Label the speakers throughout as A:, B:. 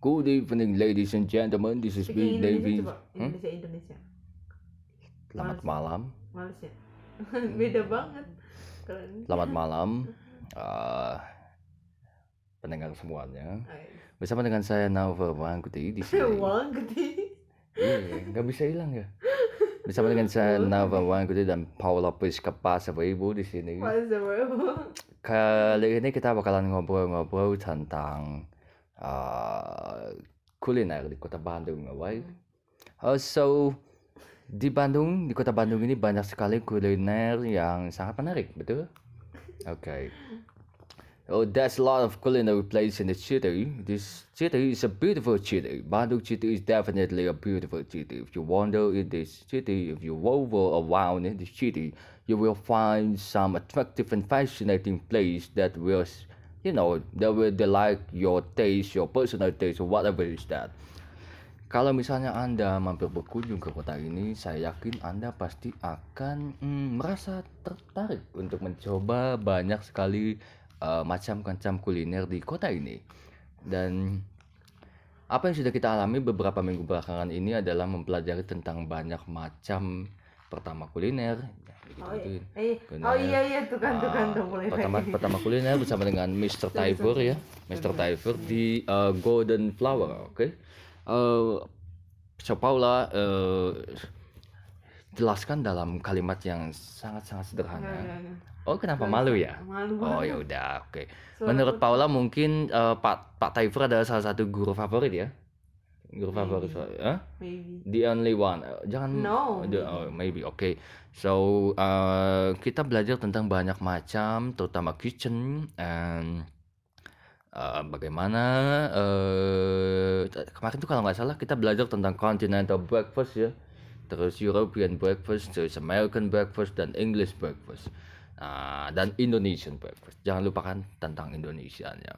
A: Good evening, ladies and gentlemen. This is Big
B: Speaking
A: David.
B: Indonesia coba
A: Hmm?
B: Indonesia Indonesia
A: Selamat malam.
B: males ya beda
A: Hmm.
B: banget kalau ini
A: Selamat malam. eh, pendengar semuanya. Bersama dengan saya Nova Wangkuti di sini.
B: uang gede
A: Iya, nggak bisa hilang ya. Bersama dengan saya Nova Wangkuti dan Paula Priska Pasaribu di sini.
B: masa iya.
A: Kali ini kita bakalan ngobrol-ngobrol tentang uh, kuliner di kota Bandung, alright? Uh, so di Bandung, di kota Bandung ini banyak sekali kuliner yang sangat menarik, betul? Okay. Oh, there's a lot of culinary places in the city. This city is a beautiful city. Bandung city is definitely a beautiful city. If you wander in this city, if you rover around in the city, you will find some attractive and fascinating place that will, s- you know, that will delight your taste, your personal taste, or whatever is that. Kalau misalnya Anda mampir berkunjung ke kota ini, saya yakin Anda pasti akan mm, merasa tertarik untuk mencoba banyak sekali eh, macam-macam kuliner di kota ini. Dan apa yang sudah kita alami beberapa minggu belakangan ini adalah mempelajari tentang banyak macam pertama kuliner, ya,
B: oh iya
A: gitu-gituin.
B: eh, oh iya iya tuh kan tuh
A: Ah,
B: kan tuh mulai
A: pertama
B: lagi.
A: pertama kuliner bersama dengan Mr. Tiver ya Mr. Tiver di uh, Golden Flower oke Eh, so Paula eh, jelaskan dalam kalimat yang sangat sangat
B: Enggak,
A: sederhana
B: enggak, enggak.
A: oh kenapa ya.
B: Iya.
A: malu ya
B: malu
A: oh
B: banget.
A: ya udah oke
B: Suara
A: menurut
B: aku-
A: Paula mungkin eh, Pak Pak Tiver adalah salah satu guru favorit ya guru favorit
B: Maybe.
A: soalnya Hah?
B: maybe
A: The only one. Eh, Jangan
B: No.
A: the- oh, maybe. Oke. So, eh, kita belajar tentang banyak macam terutama kitchen and eh, bagaimana eh, t- kemarin tuh kalau nggak salah kita belajar tentang continental breakfast ya. Terus European breakfast, terus American breakfast dan English breakfast. Ah, dan Indonesian breakfast. Jangan lupakan tentang Indonesia ya.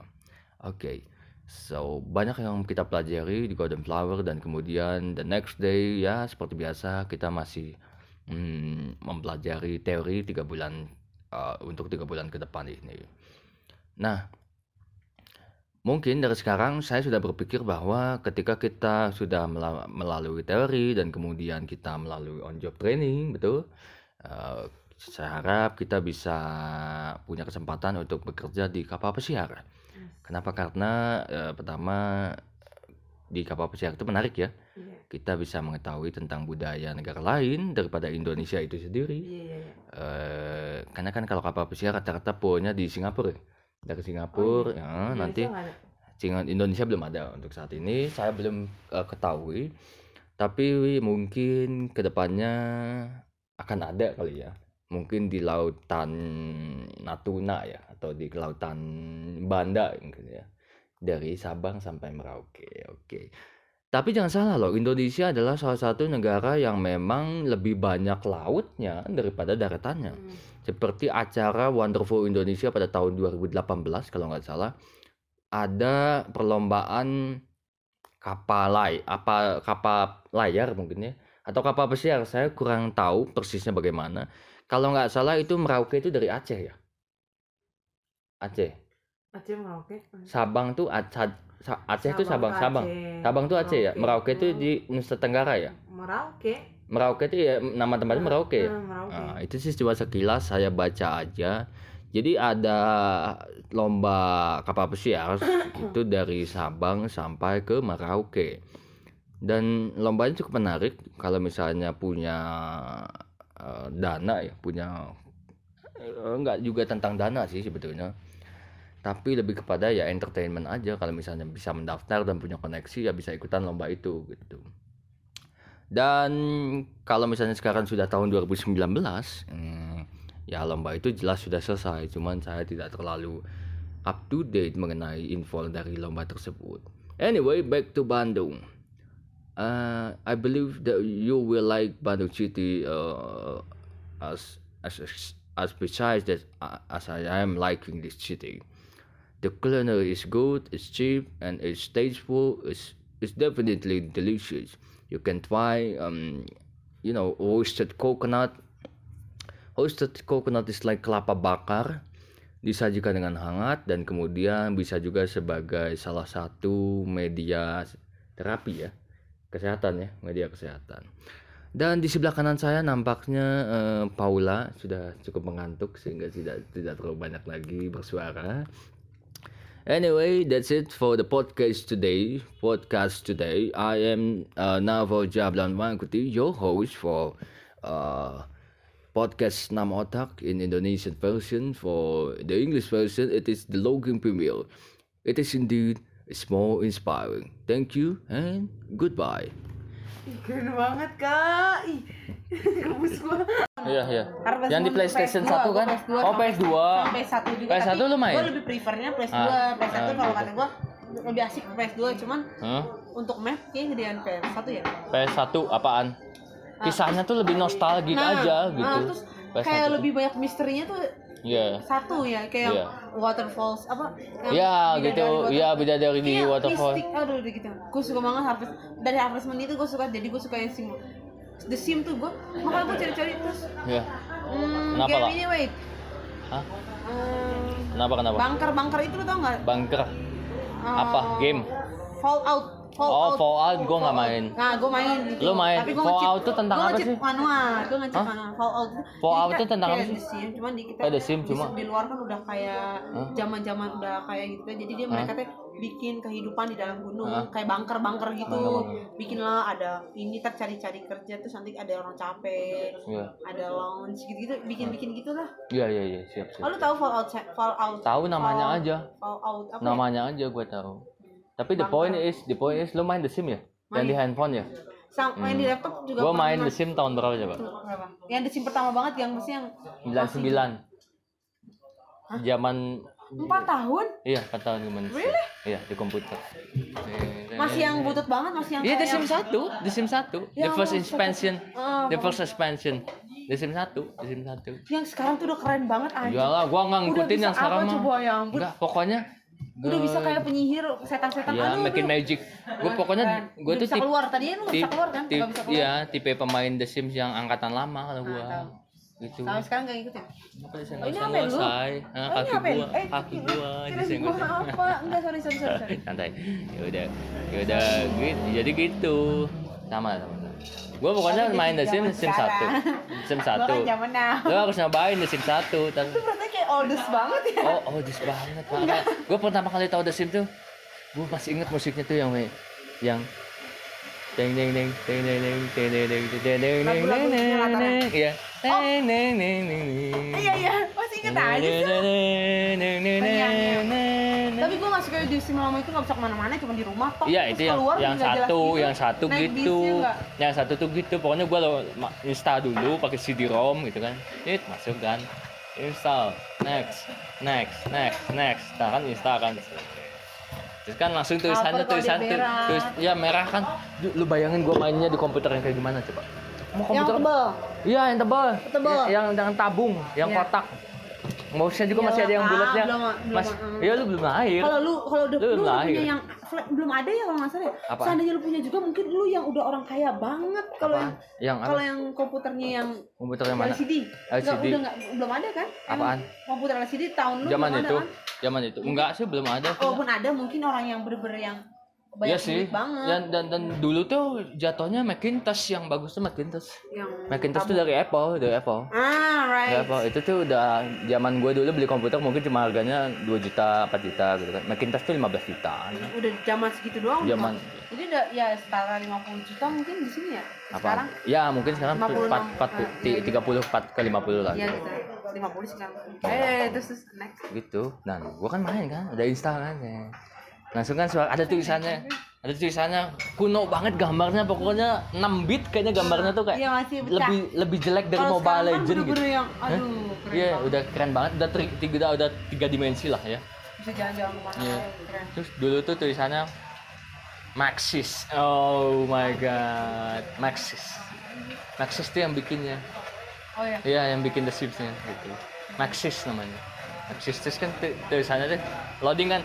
A: Oke. So, banyak yang kita pelajari di Golden Flower dan kemudian the next day ya seperti biasa kita masih mm, mempelajari teori tiga bulan uh, untuk tiga bulan ke depan ini. Nah, mungkin dari sekarang saya sudah berpikir bahwa ketika kita sudah mela- melalui teori dan kemudian kita melalui on job training, betul? Uh, saya harap kita bisa punya kesempatan untuk bekerja di kapal pesiar. Kenapa? Karena eh, pertama di kapal pesiar itu menarik ya.
B: iya
A: Kita bisa mengetahui tentang budaya negara lain daripada Indonesia itu sendiri.
B: iya iya iya.
A: Eh, karena kan kalau kapal pesiar rata-rata punya di Singapura. ya. Dari Singapura, ya,
B: Indonesia
A: nanti
B: nggak Iya, ada.
A: Cingan Indonesia belum ada untuk saat ini. Saya belum eh, ketahui. Tapi mungkin kedepannya akan ada kali ya. Mungkin di lautan Natuna ya atau di lautan Banda mungkin ya. Dari Sabang sampai Merauke. Oke. Tapi jangan salah loh, Indonesia adalah salah satu negara yang memang lebih banyak lautnya daripada daratannya
B: Hmm.
A: seperti acara Wonderful Indonesia pada tahun 2018 kalau nggak salah ada perlombaan kapal lay- apa kapal layar mungkin ya atau kapal pesiar saya kurang tahu persisnya bagaimana kalau nggak salah itu Merauke itu dari Aceh ya Aceh
B: Aceh Merauke
A: Sabang tuh Aceh Aceh itu Sabang
B: ke
A: Sabang
B: Aceh.
A: Sabang tuh Aceh ya Merauke itu
B: tuh-
A: di Nusa Tenggara ya
B: Merauke
A: Merauke itu ya nama tempatnya Merauke ya
B: Eh, Merauke
A: Nah, itu sih cuma sekilas saya baca aja. Jadi ada lomba kapal pesiar ya? itu dari Sabang sampai ke Merauke. Dan lombanya cukup menarik kalau misalnya punya eh, dana ya, punya eh, enggak juga tentang dana sih sebetulnya. Tapi lebih kepada ya entertainment aja kalau misalnya bisa mendaftar dan punya koneksi ya bisa ikutan lomba itu gitu. Dan kalau misalnya sekarang sudah tahun 2019, hmm, ya lomba itu jelas sudah selesai. Cuman saya tidak terlalu up to date mengenai info dari lomba tersebut. Anyway, back to Bandung. Uh, I believe that you will like Bandung City uh, as as as- as precise that uh, as I am liking this city. The culinary is good, it's cheap, and it's tasteful. It's it's definitely delicious. You can try, um, you know, roasted coconut. Roasted coconut is like kelapa bakar. disajikan dengan hangat dan kemudian bisa juga sebagai salah satu media terapi ya kesehatan ya media kesehatan dan di sebelah kanan saya nampaknya eh, Paula sudah cukup mengantuk sehingga tidak tidak terlalu banyak lagi bersuara Anyway, that's it for the podcast today. Podcast today, I am uh, Navo Jablan Wangkuti, your host for uh, podcast Nam Otak in Indonesian version. For the English version, it is the Logan Premier. It is indeed small inspiring. Thank you and goodbye.
C: Ih, keren banget kak Ih, kampus gua
A: Iya, iya.
B: Harvest
A: Yang di
B: Moon
A: PlayStation
B: PS2,
A: 1 kan?
B: PS2,
A: Oh, PS2.
B: sampai satu juga
A: PS1
B: tapi
A: lu main?
B: gue lebih prefernya PS2
A: Ah,
B: PS1
A: ah,
B: kalau
A: gitu.
B: kata gue lebih asik PS2 cuman
A: Hah?
B: untuk map kayaknya gedean PS1 ya
A: PS1 apaan? Kisahnya tuh lebih nostalgic aja gitu.
B: Ah. nah, terus
A: PS1
B: kayak
A: tuh.
B: lebih banyak misterinya tuh
A: Iya.
B: satu ya kayak
A: Iya.
B: waterfalls apa yang
A: Ya
B: bidadari
A: gitu,
B: water-
A: ya beda dari di
B: Iya,
A: waterfall.
B: mistik. aduh udah gitu gue suka banget harvest dari harvest Moon itu gue suka jadi gue suka yang sim the sim tuh gue makanya gue cari-cari terus
A: Ya.
B: hmm,
A: Kenapa,
B: game
A: Kak?
B: ini wait
A: Hah?
B: Hmm,
A: Kenapa kenapa?
B: bunker bunker itu lo tau nggak
A: Bunker. Apa?
B: Eh,
A: Game?
B: Fallout
A: Oh, Fallout gua nggak main.
B: Nah, gua main gitu.
A: Lu main.
B: gua nge-cheat-
A: Fallout tuh tentang
B: gua
A: apa
B: nge-cheat
A: sih?
B: Manual, gua ngecek
A: Hah?
B: manual. Fallout.
A: Fallout
B: Jadi
A: tuh tentang
B: kayak
A: apa sih?
B: The Sim, cuman di kita
A: Oh, The Sim
B: di-
A: cuma.
B: di, luar kan udah kayak zaman-zaman udah kayak gitu. Jadi dia mereka tuh bikin kehidupan di dalam gunung
A: Hah?
B: kayak bunker-bunker gitu.
A: Bunker-bunker.
B: Bikin lah ada ini tercari cari kerja terus nanti ada orang capek,
A: Iya.
B: ada lounge gitu-gitu, bikin-bikin gitulah.
A: Iya iya iya, siap siap.
B: Oh, lu tahu Fallout Fallout?
A: Tahu namanya
B: Fallout-
A: aja.
B: Fallout apa? ya?
A: Namanya aja gua tahu. Tapi the
B: Bunker.
A: point is, the point is lu main The Sim ya? Yang
B: Main.
A: di handphone ya?
B: Sam- main di laptop juga
A: Gua main
B: pernah.
A: The Sim tahun berapa coba?
B: Berapa? Yang The Sim pertama banget yang mesti yang
A: 99. Zaman
B: 4 tahun
A: iya, empat tahun gimana? sih?
B: Really?
A: Iya, di komputer.
B: masih yang butut banget masih yang
A: Iya, The
B: kayak-
A: Sim 1, The Sim 1, The
B: Ya
A: first
B: Allah,
A: expansion,
B: Ah,
A: The first expansion, The Sim 1, The Sim 1.
B: yang sekarang tuh udah keren banget anjir.
A: Ya lah, gua nggak
B: Udah
A: ngikutin
B: bisa
A: yang sekarang
B: apa
A: mah.
B: coba, ya ampun.
A: Enggak, pokoknya
B: Udah bisa kayak penyihir setan-setan
A: ya
B: Aduh,
A: making
B: aduh.
A: magic. Gua pokoknya
B: Keren.
A: gua
B: Kan, Udah
A: tuh
B: bisa
A: tip-
B: keluar tadi lu nggak bisa
A: tip-
B: keluar kan? Nggak
A: tip-
B: bisa keluar.
A: Iya, tipe pemain The Sims yang angkatan lama kalau gua.
B: tahu.
A: Gitu.
B: Sampai sekarang gak ngikutin.
A: Apa sih
B: Oh, ini
A: nggak
B: apa ya, lu?
A: selesai? Nah,
B: Oh, ini
A: kaki
B: apa ya?
A: gua,
B: Eh,
A: kaki gua
B: Kirain
A: disenggol.
B: gua apa? Enggak, sorry, sorry, sorry. sorry.
A: santai ya udah ya udah gitu jadi gitu sama sama sama. gua pokoknya
B: Tapi
A: main The
B: jadi
A: Sim
B: zaman
A: Sim satu
B: sekarang.
A: Sim
B: Gua
A: satu
B: kan zaman now.
A: lo harus nyobain The Sim satu tapi
B: Itu berarti kayak oldest banget ya.
A: oh oh jis banget banget gua pertama kali tahu The Sim tuh gua masih inget musiknya tuh yang yang Deng deng deng deng deng deng deng deng deng deng deng deng deng
B: Lagu-lagu
A: deng
B: Jonathan.
A: deng iya deng deng deng deng
B: Iya, iya. Masih inget aja sih.
A: iya.
B: lu. Tapi gue gak suka di sim lama itu gak bisa kemana-mana cuma di rumah tok.
A: Iya
B: Terus
A: itu yang
B: keluar
A: yang
B: nggak jelas
A: satu,
B: gitu.
A: yang satu
B: Naik
A: gitu,
B: bisnya nggak-
A: yang satu tuh gitu. Pokoknya gua lo ma- install dulu pakai CD-ROM gitu kan, it masuk kan, install, next, next, next, next, nah kan install kan. Terus kan langsung tulisannya
B: Cover kalau
A: tulisan
B: dia
A: tu-
B: merah.
A: tulis, ya merah kan. Duh, Lu bayangin gua mainnya di komputer yang kayak gimana coba? Mau
B: Yang
A: komputer?
B: tebel.
A: Iya yang tebal,
B: Tebal.
A: Ya, yang yang tabung, yang
B: Iya.
A: kotak. Mouse-nya juga masih
B: Iyalah,
A: ada yang
B: Kak.
A: bulatnya.
B: Belum- belum,
A: Mas,
B: mm.
A: iya lu belum lahir.
B: Kalau lu kalau udah
A: Lu
B: lu,
A: belum
B: udah
A: lahir.
B: punya yang flat, belum ada ya kalau nggak salah. ya?
A: Apa?
B: Seandainya lu punya juga mungkin lu yang udah orang kaya banget kalau
A: Apaan?
B: yang
A: Yang apa?
B: kalau yang komputernya yang
A: Komputer yang mana?
B: LCD. Nggak,
A: LCD.
B: udah nggak belum ada kan? Emang
A: Apaan?
B: komputer LCD tahun lu
A: zaman
B: belum
A: itu
B: ada kan?
A: zaman itu enggak sih belum ada sih.
B: Walaupun ada mungkin orang yang bener-bener yang banyak
A: Iya sih
B: duit banget.
A: dan, dan dan dulu tuh jatuhnya Macintosh yang bagus tuh Macintosh
B: yang
A: Macintosh tuh dari Apple dari Apple
B: Ah,
A: dari
B: right.
A: Apple itu tuh udah zaman gue dulu beli komputer mungkin cuma harganya 2 juta 4 juta gitu kan Macintosh tuh 15 jutaan
B: Udah zaman segitu doang. udah.
A: Zaman.
B: Jadi udah ya setara 50 juta mungkin di sini ya. Sekarang
A: apa ya mungkin sekarang
B: 56.
A: 4, 40, 30 4 ke 50 lah
B: Ah, Iya
A: gitu.
B: gitu. 50 sekarang.
A: Oh,
B: Eh, terus terus next.
A: gitu nah gua kan main kan ada install kan ya. langsung kan suara ada tulisannya ada tulisannya kuno banget gambarnya pokoknya 6 bit kayaknya gambarnya tuh kayak
B: Iya, masih pecah.
A: lebih lebih jelek dari
B: Kalau
A: Mobile
B: sekarang kan
A: Legend gitu
B: bener-bener yang aduh, keren
A: iya
B: banget.
A: udah keren banget udah tri, tiga udah, udah tiga dimensi lah ya
B: Bisa jalan-jalan kemana
A: Iya.
B: aja, keren.
A: terus dulu tuh tulisannya Maxis oh my god Maxis Maxis tuh yang bikinnya
B: Oh iya.
A: Iya, yang bikin The Sims nya gitu. Maxis namanya. Maxis terus kan tu- tulisannya deh loading kan.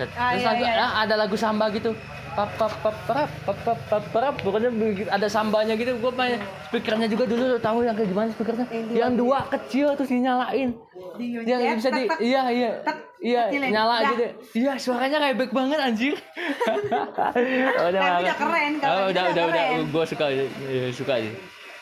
A: Set.
B: Ah,
A: terus
B: iya,
A: lagu-
B: iya, iya.
A: ah, ada lagu samba gitu. pap pap pap perap pap pap pap perap pokoknya begitu- ada sambanya gitu gue main
B: Hmm.
A: speakernya juga dulu tahu yang kayak gimana speakernya yang dua kecil terus dinyalain yang bisa di iya iya iya
B: kecilin.
A: nyala
B: Dah.
A: gitu iya suaranya rebek banget anjir udah
B: Tapi
A: banget.
B: udah keren, kalau
A: Oh, udah
B: itu udah
A: udah udah
B: keren.
A: gue suka iya, suka sih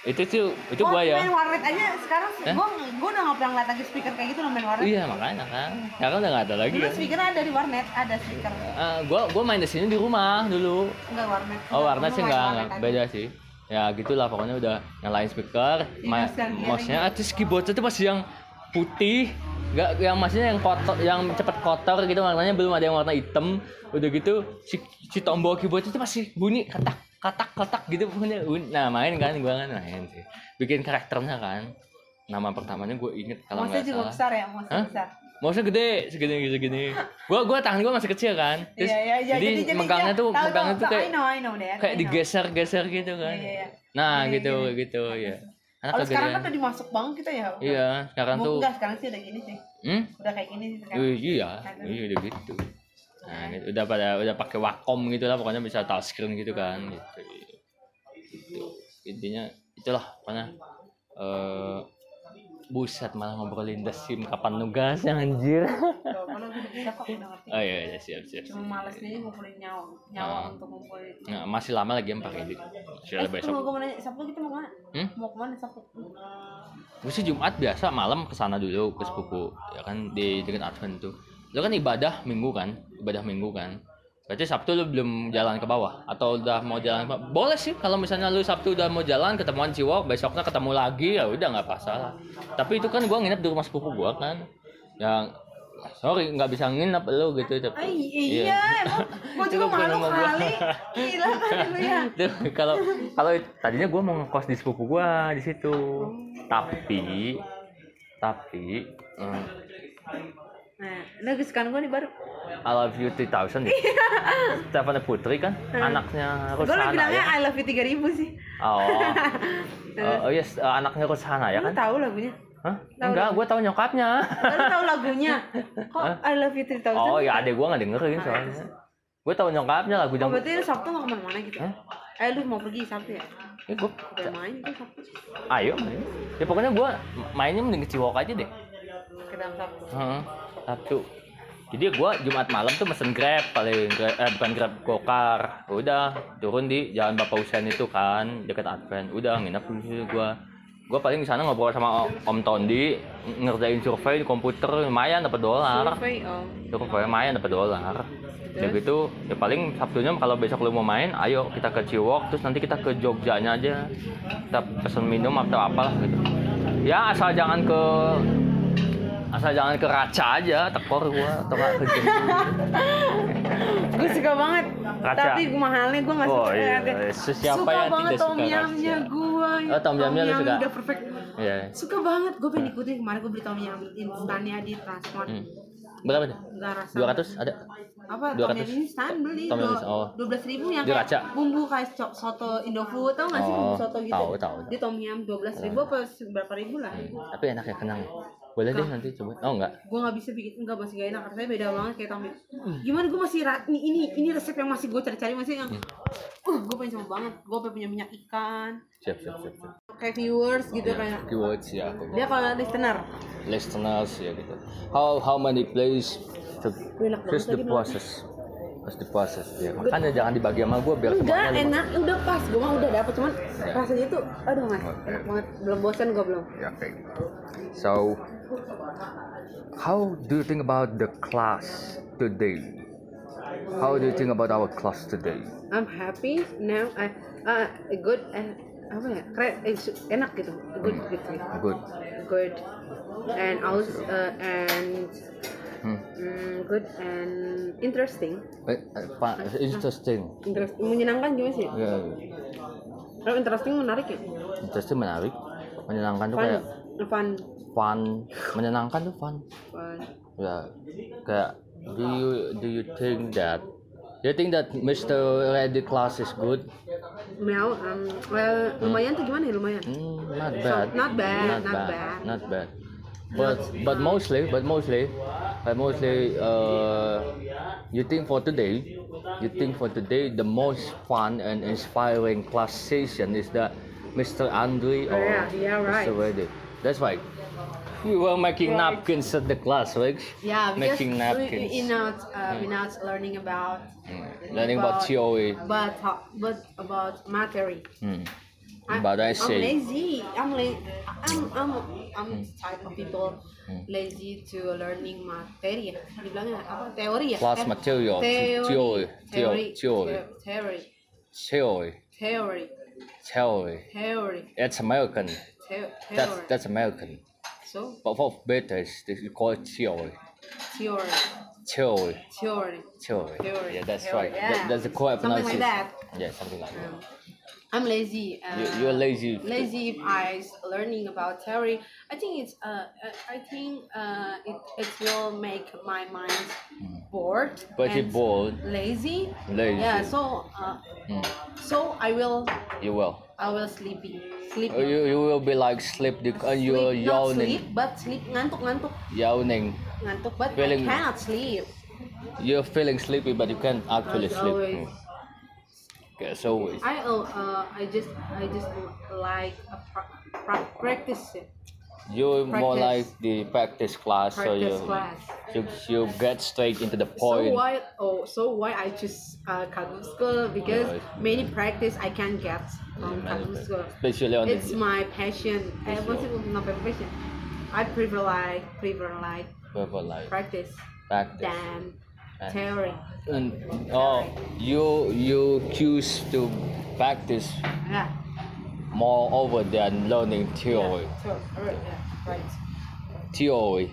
A: itu tuh itu
B: Oh,
A: gue ya
B: main warnet aja sekarang gua gua udah nggak pernah ngeliat lagi speaker kayak gitu loh main warnet.
A: iya makanya kan sekarang udah nggak ada lagi
B: Dulu
A: kan
B: speaker ada di warnet, ada speaker.
A: Eh, gue gue main di sini di rumah dulu
B: Enggak warnet.
A: Oh warna
B: Gua
A: sih
B: main
A: enggak,
B: warnet
A: enggak.
B: aja.
A: beda sih. Ya gitulah pokoknya udah nyalain
B: Iya,
A: speaker, ma-
B: nostalgia
A: mouse-nya ah, terus keyboardnya tuh masih yang putih, enggak yang maksudnya yang kotor, yang cepet kotor gitu warnanya belum ada yang warna hitam. Udah gitu si, si tombol keyboardnya tuh masih bunyi katak katak katak gitu pokoknya. Un- Nah main kan gua kan main sih, bikin karakternya kan. Nama pertamanya gue inget kalau
B: Mouse-nya
A: nggak
B: juga
A: salah.
B: besar ya, mouse
A: Hah?
B: besar.
A: Mouse-nya gede, segini segini segini. Gua gua tangan gua masih kecil kan. Terus
B: Iya, iya, iya.
A: jadi,
B: jadi- jadi
A: megangnya
B: dia-
A: tuh
B: tahu,
A: megangnya
B: tahu,
A: tuh
B: tahu.
A: kayak
B: I know, I know, Dad,
A: kayak
B: I know.
A: digeser-geser gitu kan.
B: Iya, iya.
A: Nah,
B: Iya,
A: gitu
B: iya.
A: gitu ya. Anak
B: Kalau sekarang kan
A: kegedean.
B: udah dimasuk banget kita ya.
A: Iya, sekarang
B: Mau
A: tuh
B: enggak sekarang sih udah gini sih.
A: hmm?
B: Udah kayak gini sih sekarang.
A: Iya, iya, iya udah gitu.
B: Iya.
A: Nah, gitu. udah pada udah pakai Wacom gitu lah pokoknya bisa touchscreen gitu kan
B: Hmm.
A: gitu. Gitu. Intinya itulah pokoknya eh buset malah ngobrolin The Sim kapan nugasnya anjir.
B: Kalau kalau gue udah bisa kok udah ngerti.
A: oh iya, iya siap siap.
B: Cuma malesnya aja ngumpulin nyawa, nyawa
A: Ah.
B: untuk ngumpulin.
A: Nah, masih lama lagi empat ini.
B: Eh,
A: Sudah
B: mau
A: besok.
B: gue mau nanya, Sabtu kita mau kemana?
A: Hmm?
B: Mau kemana Sabtu?
A: Gue sih Jumat biasa malam ke sana dulu ke sepupu ya kan di dekat Advent tuh. Lo kan ibadah minggu kan, ibadah minggu kan. Berarti Sabtu lo belum jalan ke bawah atau udah mau jalan ke bawah? Boleh sih kalau misalnya lo Sabtu udah mau jalan ketemuan Ciwok, besoknya ketemu lagi ya udah nggak masalah. Tapi itu kan gua nginep di rumah sepupu gua kan. Yang sorry nggak bisa nginep lo gitu tapi.
B: Ay, iya, emang gue juga
A: Itu bukan
B: malu
A: rumah gua.
B: kali. Gila kali lu ya.
A: Tuh, kalau kalau tadinya gue mau ngekos di sepupu gue di situ tapi tapi eh,
B: Nah, lagi sekarang gue nih baru.
A: I love you 3000 ya
B: Iya.
A: Stefania Putri kan anaknya
B: Gue lagi
A: Rusana
B: Hmm. bilangnya
A: ya
B: I love you 3000 sih.
A: oh Eh, oh yes eh, anaknya Rusana ya
B: Lu
A: kan
B: tahu lagunya?
A: Hah?
B: Tahu
A: enggak gue tahu nyokapnya
B: Lu tahu lagunya? Kok I love you 3000?
A: oh ya adek gue nggak dengerin soalnya gue tahu nyokapnya lagu
B: Ah, iya. Oh,
A: jam
B: berarti lu Sabtu mau kemana-mana gitu?
A: iya, Hah?
B: Eh, lu mau pergi Sabtu ya?
A: Eh, gua-
B: Udah main tuh Sabtu.
A: ayo main. ya pokoknya gue mainnya mending ke Ciwok aja deh
B: Ke dalam Sabtu.
A: Heeh, Sabtu. Jadi gua Jumat malam tuh mesen Grab paling Grab- eh bukan Grab Gokar. Udah turun di Jalan Bapak Husein itu kan dekat Advent. Udah nginep di situ gua. Gua paling di sana ngobrol sama O- Om Tondi ng- ngerjain survei di komputer lumayan dapat dolar.
B: Survei, oh.
A: Survei lumayan dapat dolar. Ya
B: Terus?
A: gitu, ya paling Sabtunya kalau besok lu mau main, ayo kita ke Ciwok, terus nanti kita ke Jogjanya aja. Kita pesen minum atau apalah gitu. Ya asal jangan ke asal jangan ke Raca aja, tekor gua atau nggak ke Jogja.
B: Gue suka banget.
A: Raca.
B: Tapi gue mahalnya gue nggak suka.
A: Oh, iya.
B: kayak-
A: Siapa
B: suka
A: yang tidak
B: banget
A: suka
B: tom yamnya
A: raca?
B: gue.
A: Oh, tom yamnya lu suka?
B: Udah perfect.
A: Iya.
B: Suka banget. Gue pengen ikutin kemarin gue beli tom yam instannya di Transmart.
A: Hmm. Berapa tuh?
B: Nggak rasa.
A: 200 ada? Hmm,
B: Apa tom
A: 200?
B: yam instan beli?
A: Tom yum instan, oh.
B: Dua belas ribu yang
A: Dia raca?
B: kayak bumbu kayak co- soto Indofood tau nggak sih
A: Oh,
B: bumbu soto gitu?
A: tahu, tahu. Nah.
B: Di tom yam dua belas ribu apa berapa ribu lah?
A: Tapi enak ya kenang. Boleh deh nanti coba. Oh enggak.
B: gue nggak bisa bikin nggak masih gak enak rasanya beda banget kayak tamu gimana gue masih ra- ini ini ini resep yang masih gue cari-cari masih yang uh gue pengen coba banget gue pengen punya minyak ikan
A: Siap, siap, siap. siap.
B: kayak viewers
A: Iya.
B: gitu kayak
A: Keywords ya aku.
B: dia kalau listener
A: listeners ya gitu. How how many plays to
B: Enak banget
A: just the
B: tadi makan.
A: process. Just the process ya. Makanya jangan dibagi sama gue biar
B: enggak
A: semuanya lu-
B: enak udah pas gue mah udah dapet cuman rasanya tuh aduh mas enak banget belum bosan gue belum
A: Ya, okay. So how do you think about the class today? How do you think about our class today?
B: I'm happy now I uh, good uh, apa ya keren eh, su- enak gitu good gitu
A: Good.
B: good and also uh, and
A: Hmm.
B: mm, good and interesting
A: Eh, eh, pa- Interesting.
B: Interes- menyenangkan gimana sih?
A: Ya,
B: Kalau interesting menarik ya?
A: interesting menarik, menyenangkan tuh
B: Fun.
A: kayak
B: Fun.
A: fun, menyenangkan tuh fun.
B: Fun.
A: Yeah, kayak do you do you think that you think that Mr. Ready class is good?
B: Well, um, well, lumayan tuh gimana ya lumayan?
A: Hmm, not bad.
B: Not bad, not bad.
A: Not bad. But but mostly but mostly I mostly uh, you think for today, you think for today the most fun and inspiring class session is that Mr. Andre or
B: Yeah, yeah, right.
A: Mr. Reddy. That's right. We were making napkins at the class, right?
B: Yeah, Ya, because
A: Making
B: we, we,
A: napkins. Hmm.
B: we not uh, we not learning about
A: Mm. Learning about theory.
B: but uh, but about matery.
A: Hmm.
B: I-
A: But I
B: I'm
A: say,
B: lazy. I'm la- I'm I'm I'm
A: Hmm.
B: the type of people lazy to learning materi ya. Dibilangnya apa teori ya?
A: Class
B: Te-
A: material,
B: Teori.
A: teori,
B: Teori.
A: teori.
B: Teori.
A: theory,
B: Teori.
A: theory.
B: Teori.
A: It's American.
B: Te-
A: That's
B: Teori.
A: that's American.
B: So
A: But for British, they call it theory,
B: teori.
A: theory.
B: Theory.
A: Theory.
B: Theory.
A: Yeah, that's right.
B: Theory,
A: That-
B: yeah.
A: that's the correct
B: Something like
A: pronunciation.
B: that.
A: Yeah, something like
B: Um, I'm lazy. Uh,
A: that. You, you're lazy.
B: lazy if I s- learning about theory. I think it's uh, uh, I think uh, it, it will make my mind bored.
A: Mm. But you
B: and
A: bored.
B: Lazy.
A: Lazy. Mm.
B: Yeah. So uh, so I will
A: You will.
B: I will sleepy. Sleep.
A: Oh, You, you will be like sleep because you're
B: sleep, not sleep,
A: yawning,
B: but sleep ngantuk ngantuk
A: yawning.
B: ngantuk, but
A: Feeling-
B: I cannot sleep.
A: You're feeling sleepy, but you can't actually
B: As
A: sleep.
B: always.
A: Mm. Yes, always.
B: I uh, uh, I just I just like a pra- pra- practice it.
A: You're more like
B: Practice.
A: the practice class, so
B: practice
A: you,
B: class.
A: you you get straight into the point.
B: So why? Oh, so why I choose uh, Kagum School because
A: Alright.
B: many practice I can get from Kagum School.
A: Especially on
B: It's
A: the
B: my passion. I
A: Yes,
B: want
A: well.
B: to not my passion. I prefer like prefer like
A: verbal life.
B: practice
A: Practice.
B: than
A: Practice.
B: theory.
A: And oh, you you choose to practice
B: Yeah.
A: more over than learning theory.
B: Yeah. Theory. Alright, yeah. Right.
A: Theory.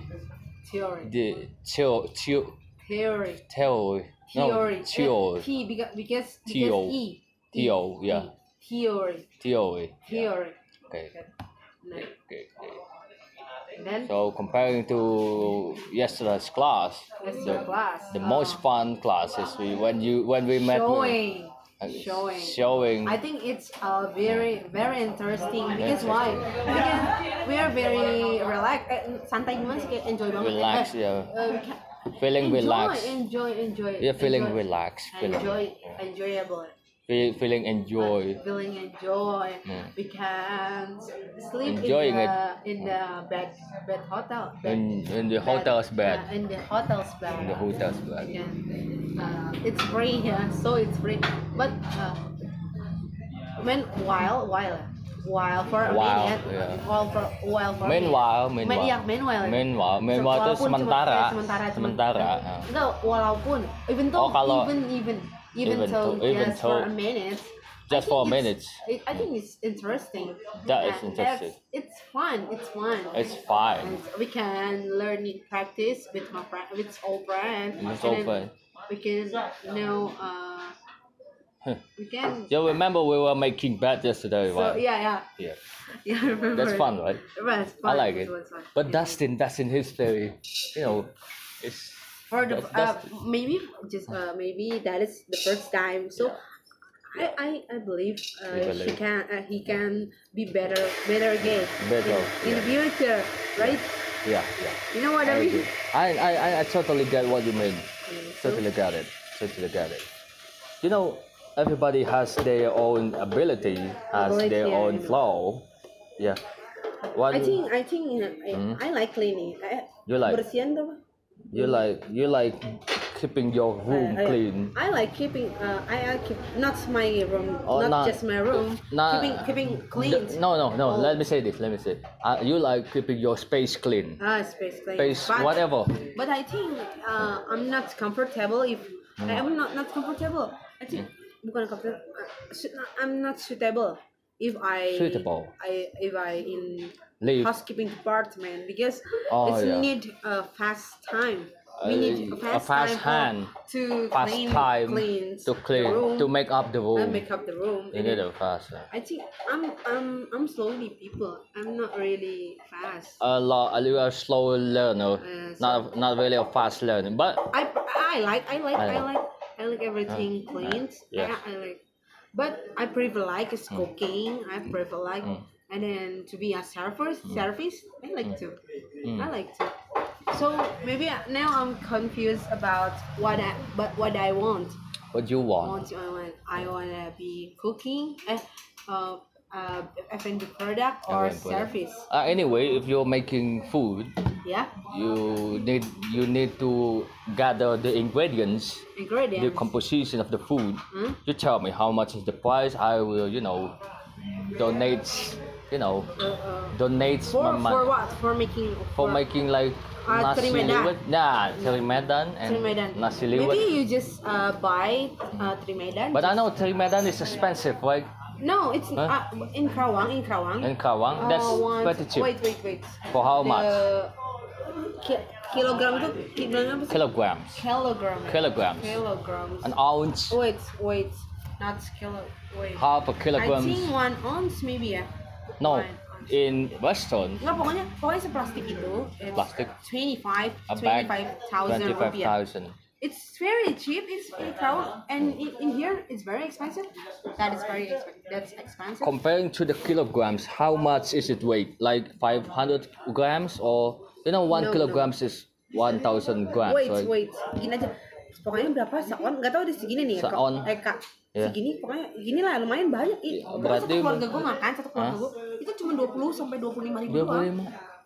B: Theory.
A: The theo, theo,
B: Theory.
A: theory.
B: Theory.
A: No, theory.
B: T because because
A: Theo.
B: because E.
A: Theo,
B: E.
A: yeah.
B: Theory.
A: Theory.
B: Theory.
A: Okay.
B: No.
A: okay, okay, okay.
B: Then
A: So comparing to yesterday's class,
B: that's your class.
A: the
B: Uh,
A: most fun class is we, when you when we met.
B: showing.
A: uh,
B: showing.
A: Showing.
B: I think it's uh, very very interesting
A: Interesting.
B: because why? Because we are very relaxed, eh, santai gimana sih kayak enjoy banget.
A: Relax,
B: Eh,
A: yeah.
B: eh, we can-
A: Feeling
B: enjoy,
A: relaxed.
B: Enjoy, enjoy.
A: Yeah, feeling
B: enjoy.
A: relaxed. Feeling.
B: Enjoy, enjoyable.
A: Feel, feeling enjoy.
B: Feeling enjoy.
A: Hmm.
B: We can sleep
A: Enjoying
B: in
A: it.
B: the in the bed bed hotel. Bed,
A: In, in the hotel's bed.
B: Yeah, in the hotel's bed.
A: In the hotel's bed.
B: and uh, it's free here, so it's free. But uh, when while while while for a
A: While,
B: minute,
A: yeah.
B: while for while for a minute.
A: Meanwhile,
B: Men-
A: meanwhile.
B: iya, meanwhile.
A: Meanwhile, meanwhile itu
B: Walaupun cuma-
A: sementara,
B: eh, sementara, cuman-
A: sementara. ah.
B: Enggak, walaupun even though
A: Oh, kalau-
B: even even even,
A: even
B: though,
A: though- even
B: just for
A: though.
B: a minute.
A: Just
B: I
A: for a
B: think
A: minute.
B: it's- It, I think it's interesting.
A: That is
B: And
A: interesting.
B: that's- It's fun. It's fun.
A: It's fine.
B: And we can learn it practice with my friend, with all friend.
A: With
B: and
A: all
B: then
A: friend.
B: We can know. Uh,
A: Huh.
B: we can.
A: You remember we were making bed yesterday,
B: So
A: right?
B: yeah, yeah,
A: yeah.
B: yeah. I remember.
A: That's fun, right?
B: It was fun.
A: I like it.
B: was fun.
A: But
B: Yeah.
A: Dustin, Dustin, his theory, you know, it's
B: for the
A: that's-
B: uh,
A: that's-
B: maybe just uh, maybe that is the first time. So. I, I, I believe
A: You
B: uh, she
A: believe.
B: can uh, he can be better better again
A: Better,
B: in, in the future right
A: yeah, yeah.
B: you know what
A: I,
B: I, mean Mm,
A: agree. I, I, I- I totally get what you mean. Totally get it. Totally get it. You know, everybody has their own ability, has
B: Ability,
A: their
B: yeah,
A: own
B: yeah.
A: flaw. Yeah. One,
B: I think I think you know, I, I like cleaning. I,
A: Hmm? You like?
B: bersihan tuh.
A: you like you like keeping your room
B: I, I-
A: clean.
B: I like keeping. Uh, I, I keep not my room,
A: Oh,
B: not,
A: not-
B: just my room.
A: not-
B: keeping keeping clean.
A: The- no, no, no.
B: Oh.
A: Let me say this. Let me say. Uh, you like keeping your space clean.
B: Ah, space clean.
A: Space,
B: but,
A: whatever.
B: But I think uh, I'm not comfortable if
A: Mm.
B: I'm not not comfortable. I think bukan comfortable. I'm not suitable if I
A: Suitable.
B: I if I in
A: Leave.
B: housekeeping department because
A: Oh,
B: it's
A: yeah.
B: need a fast time. We
A: Uh,
B: need a
A: a
B: fast,
A: fast
B: time for-
A: hand.
B: to
A: Fast
B: clean,
A: time
B: cleans
A: to clean
B: the room,
A: to make up the
B: and
A: room.
B: make up the room.
A: You need a fast. uh,
B: I think I'm I'm I'm slowly people. I'm not really fast.
A: A lot. You are a slow learner.
B: Yes.
A: Uh, Not not really a fast learner, but
B: I I like I like
A: I
B: I,
A: know.
B: like I like everything clean.
A: yes.
B: I, I like, but I prefer like is cooking. I prefer like and then to be a surfer surface i like to
A: Hmm.
B: i like to so maybe I- now i'm confused about what i but what i want
A: What you
B: I
A: want?
B: want to, I want I want to be cooking eh, uh, uh, F&B product or
A: F&B product.
B: service
A: Uh, anyway, if you're making food,
B: yeah
A: you need you need to gather the ingredients, the
B: ingredients
A: composition of the food.
B: Hmm?
A: You tell me how much is the price. I will, you know, donate, you know,
B: Uh, uh,
A: donate
B: for
A: my
B: for
A: money
B: what for making
A: for making like
B: Ah,
A: nasi
B: Trimedan.
A: liwet. Nah, Trimedan and
B: Trimedan.
A: nasi
B: Maybe
A: liwet.
B: you just uh, buy uh, Trimedan.
A: But I know Trimedan is expensive, right?
B: no, it's
A: Huh?
B: uh, in Krawang, in Krawang.
A: In Kawang, that's
B: Uh, one-
A: pretty cheap.
B: Wait, wait, wait.
A: For how much?
B: The ki- kilogram tuh kilogram apa sih?
A: Kilograms.
B: Kilogram.
A: Kilograms.
B: Kilograms.
A: An ounce,
B: Wait, wait. Not kilo. Wait.
A: half a
B: I think
A: kilograms.
B: one ounce maybe ya.
A: No,
B: one ounce.
A: in Western,
B: Nggak, pokoknya pokoknya seplastik itu. eh, it's
A: Plastic.
B: 25
A: a bag
B: 25,000 rupiah.
A: 25,000.
B: It's very cheap. It's very crowd, and in, in here it's very expensive. That is very expensive. That's expensive.
A: Comparing to the kilograms, how much is it weight? Like 500 grams or, you know, one
B: No, no.
A: kilograms is 1,000 grams,
B: wait,
A: right?
B: wait, gini aja. Pokoknya berapa seon? Gak tau deh segini nih. ya, Kak.
A: Seon.
B: Eh kak,
A: Iya.
B: segini pokoknya gini lah lumayan banyak. Ih,
A: Iya,
B: pokoknya
A: berarti-
B: satu keluarga gue makan satu keluarga
A: Hah?
B: gue itu cuma 20 sampai 25 ribu
A: 25.
B: doang.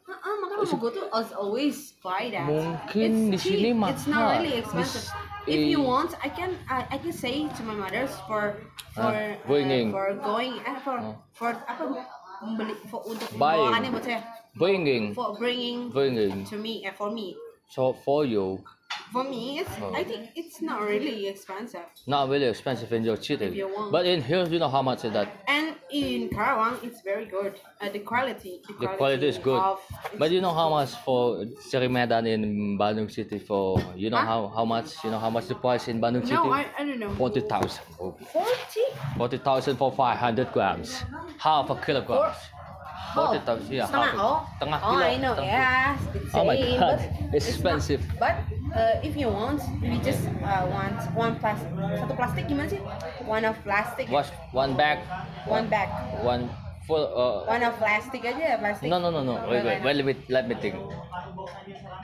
B: Heeh, makanya mau gue tuh as always buy that.
A: Mungkin
B: It's
A: di sini
B: cheap. It's not
A: mahal.
B: really expensive.
A: Di-
B: If you
A: eh.
B: want, I can I, I can say to my mother for for
A: Ah,
B: uh,
A: bringing.
B: for going eh, for
A: Oh.
B: for apa membeli for untuk
A: Buying.
B: bawaannya buat saya
A: Bringing,
B: for bringing
A: bringing.
B: to me eh, for me
A: So for you,
B: For me, it's
A: Oh.
B: I think it's not really expensive.
A: not really expensive in your city.
B: If you want.
A: But in here, you know how much is that?
B: And in Karawang, it's very good. Uh, the quality,
A: The quality is good.
B: Of,
A: But you know how much for Cerimedan in Bandung City for you know
B: Huh?
A: how how much you know how much the price in Bandung City?
B: no, I, I don't know.
A: Forty thousand.
B: Forty?
A: Forty thousand for five hundred grams. Half a kilogram. Forty thousand. Yeah.
B: Oh, Setengah,
A: half a-
B: oh.
A: Tengah
B: oh,
A: kilo.
B: I know.
A: tengah kilo.
B: Yes, it's
A: Oh my
B: same,
A: God,
B: but
A: it's
B: not-
A: expensive.
B: but uh, if you want, we just uh, want one plastic, satu plastik gimana sih? One of plastic,
A: What's one bag?
B: one bag,
A: One full. Uh,
B: one of plastic aja ya plastik.
A: no no no no. Wait wait. wait let me let me think.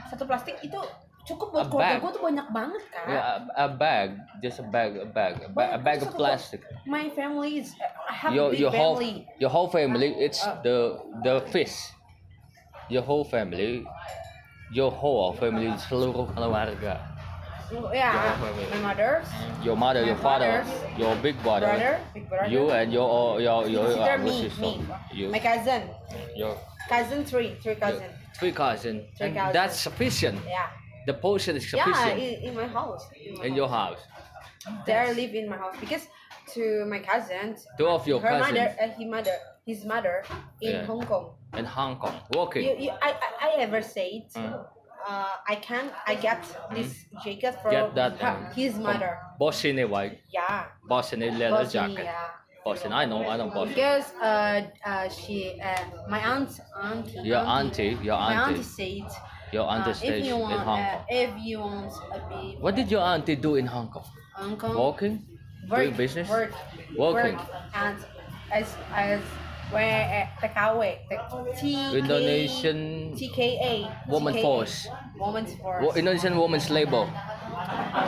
B: Satu plastik itu cukup
A: A
B: buat keluarga
A: bag.
B: gue tuh banyak banget kan.
A: Yeah, a, a bag. Just a bag. A bag. A, ba- a bag
B: Banyak banget
A: of
B: satu-
A: plastic.
B: My family is I have a
A: your
B: big
A: your
B: Uh.
A: whole
B: family.
A: your whole family it's the the fish your whole family your whole family seluruh keluarga
B: yeah,
A: whole family.
B: my mother's
A: your mother
B: My
A: your father
B: brothers,
A: your big brother,
B: brother, big brother.
A: you and your your your, your
B: sister,
A: uh,
B: me,
A: sister,
B: me,
A: you
B: my cousin,
A: your,
B: cousin three, three
A: your
B: cousin.
A: three cousin and
B: Three cousin.
A: that's sufficient
B: Yeah,
A: the portion is
B: yeah,
A: sufficient
B: in, in my house. In, my
A: in
B: house.
A: your house
B: they are live in my house because to my cousin,
A: two of your
B: her mother,
A: cousins
B: uh, his mother, his mother
A: Yeah.
B: in Hong Kong.
A: in Hong Kong working
B: You, you, I, I, I ever said.
A: Mm.
B: Uh, I can I get this jacket from
A: Mm-hmm. get that
B: her,
A: uh,
B: his mother.
A: boss in a white
B: Yeah.
A: boss in a leather
B: Bosnia.
A: jacket boss in I know I know boss
B: Because uh, uh, she, uh, my aunt, auntie,
A: Your auntie, your
B: my auntie
A: auntie,
B: said,
A: your
B: uh,
A: auntie
B: if
A: stays
B: you
A: in
B: want,
A: Hong
B: uh,
A: Kong.
B: if you want to be
A: What did your auntie do in Hong Kong?
B: Hong Kong,
A: Walking? Doing
B: work,
A: business?
B: work,
A: Working.
B: work, and as as where uh, TKW, T-
A: Indonesian
B: TKA,
A: woman
B: TKA,
A: force.
B: woman's force.
A: Wo- Indonesian woman's labor.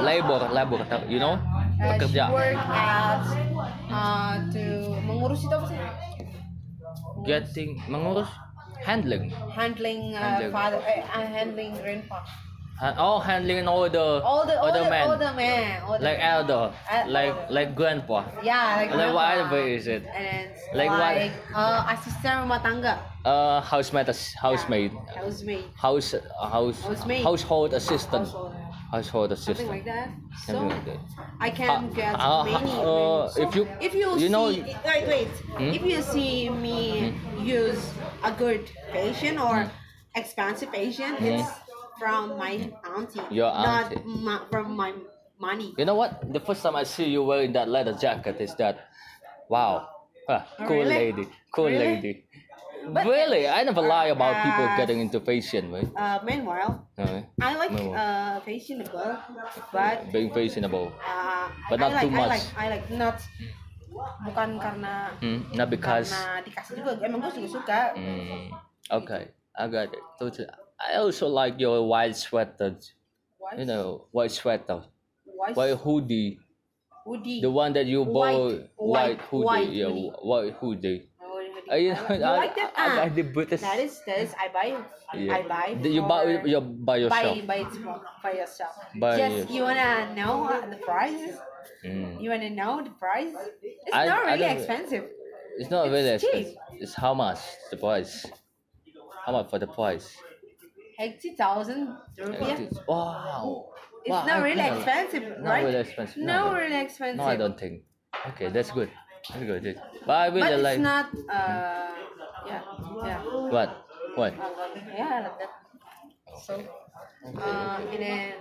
A: Labor, labor, ta- you know?
B: Uh, she
A: Pekerja.
B: work at uh, to mengurus itu apa sih?
A: Getting, mengurus, handling.
B: Handling, uh,
A: Handling.
B: father, eh, uh, handling grandpa.
A: Ha- Oh, handling all the,
B: All the all
A: other
B: the,
A: men.
B: all the men. All the
A: like elder,
B: Eh,
A: like like grandpa.
B: Yeah, like,
A: Like
B: grandpa.
A: whatever is it.
B: And
A: Like
B: like,
A: what-
B: uh, asisten rumah tangga.
A: Uh, housemaid, housemaid,
B: Yeah, housemaid.
A: house, house,
B: Housemaid.
A: household assistant,
B: Household.
A: household
B: Something
A: assistant.
B: like that. So
A: Something like that.
B: I can
A: Uh,
B: get
A: uh,
B: many. many.
A: uh,
B: So,
A: if you-
B: if you,
A: you
B: see,
A: know- Hmm?
B: wait, wait. If you see me use a good patient or
A: Hmm.
B: expensive patient, it's from my auntie,
A: Your
B: not
A: auntie.
B: ma- from my money.
A: You know what? The first time I see you wearing that leather jacket is that, wow, huh, cool
B: Really?
A: lady, cool
B: Really?
A: lady.
B: But-
A: really, I never lie about people
B: Uh,
A: getting into fashion, right?
B: Uh, meanwhile,
A: Uh,
B: I like
A: Meanwhile.
B: uh, fashionable, but
A: being fashionable.
B: Uh,
A: But
B: I
A: not
B: like,
A: too much.
B: I like, I like not bukan karena
A: Hmm, not because.
B: karena dikasih juga emang gue juga suka Mm.
A: Hmm, okay, I got it. Totally. I also like your white sweater.
B: white
A: You know, white sweater,
B: white,
A: white hoodie,
B: hoodie
A: the one that you bought,
B: White, white,
A: hoodie,
B: white
A: yeah,
B: hoodie.
A: white hoodie.
B: Oh, hoodie.
A: Uh, you
B: I
A: know,
B: like-
A: I,
B: you like that
A: I, I
B: ah
A: got the British.
B: that is that is I buy I buy
A: The- you buy
B: for-
A: you by yourself.
B: by by itself by yourself
A: By
B: just
A: yourself.
B: you wanna know uh, the prices
A: Mm.
B: you wanna know the price it's
A: I-
B: not
A: I
B: really
A: don't-
B: expensive
A: It's not really
B: It's cheap.
A: expensive. It's how much the price? How much for the price?
B: eighty thousand rupiah
A: It is- Wow.
B: it's
A: Wow, I
B: not really
A: kinda-
B: expensive
A: Not
B: right
A: really expensive.
B: no
A: no.
B: really expensive
A: No, I don't think. Okay, that's good. That's good. dude. But I
B: but
A: really
B: it's
A: like
B: not uh
A: Mm-hmm.
B: yeah yeah
A: what? What?
B: I love it. yeah I love that so um and then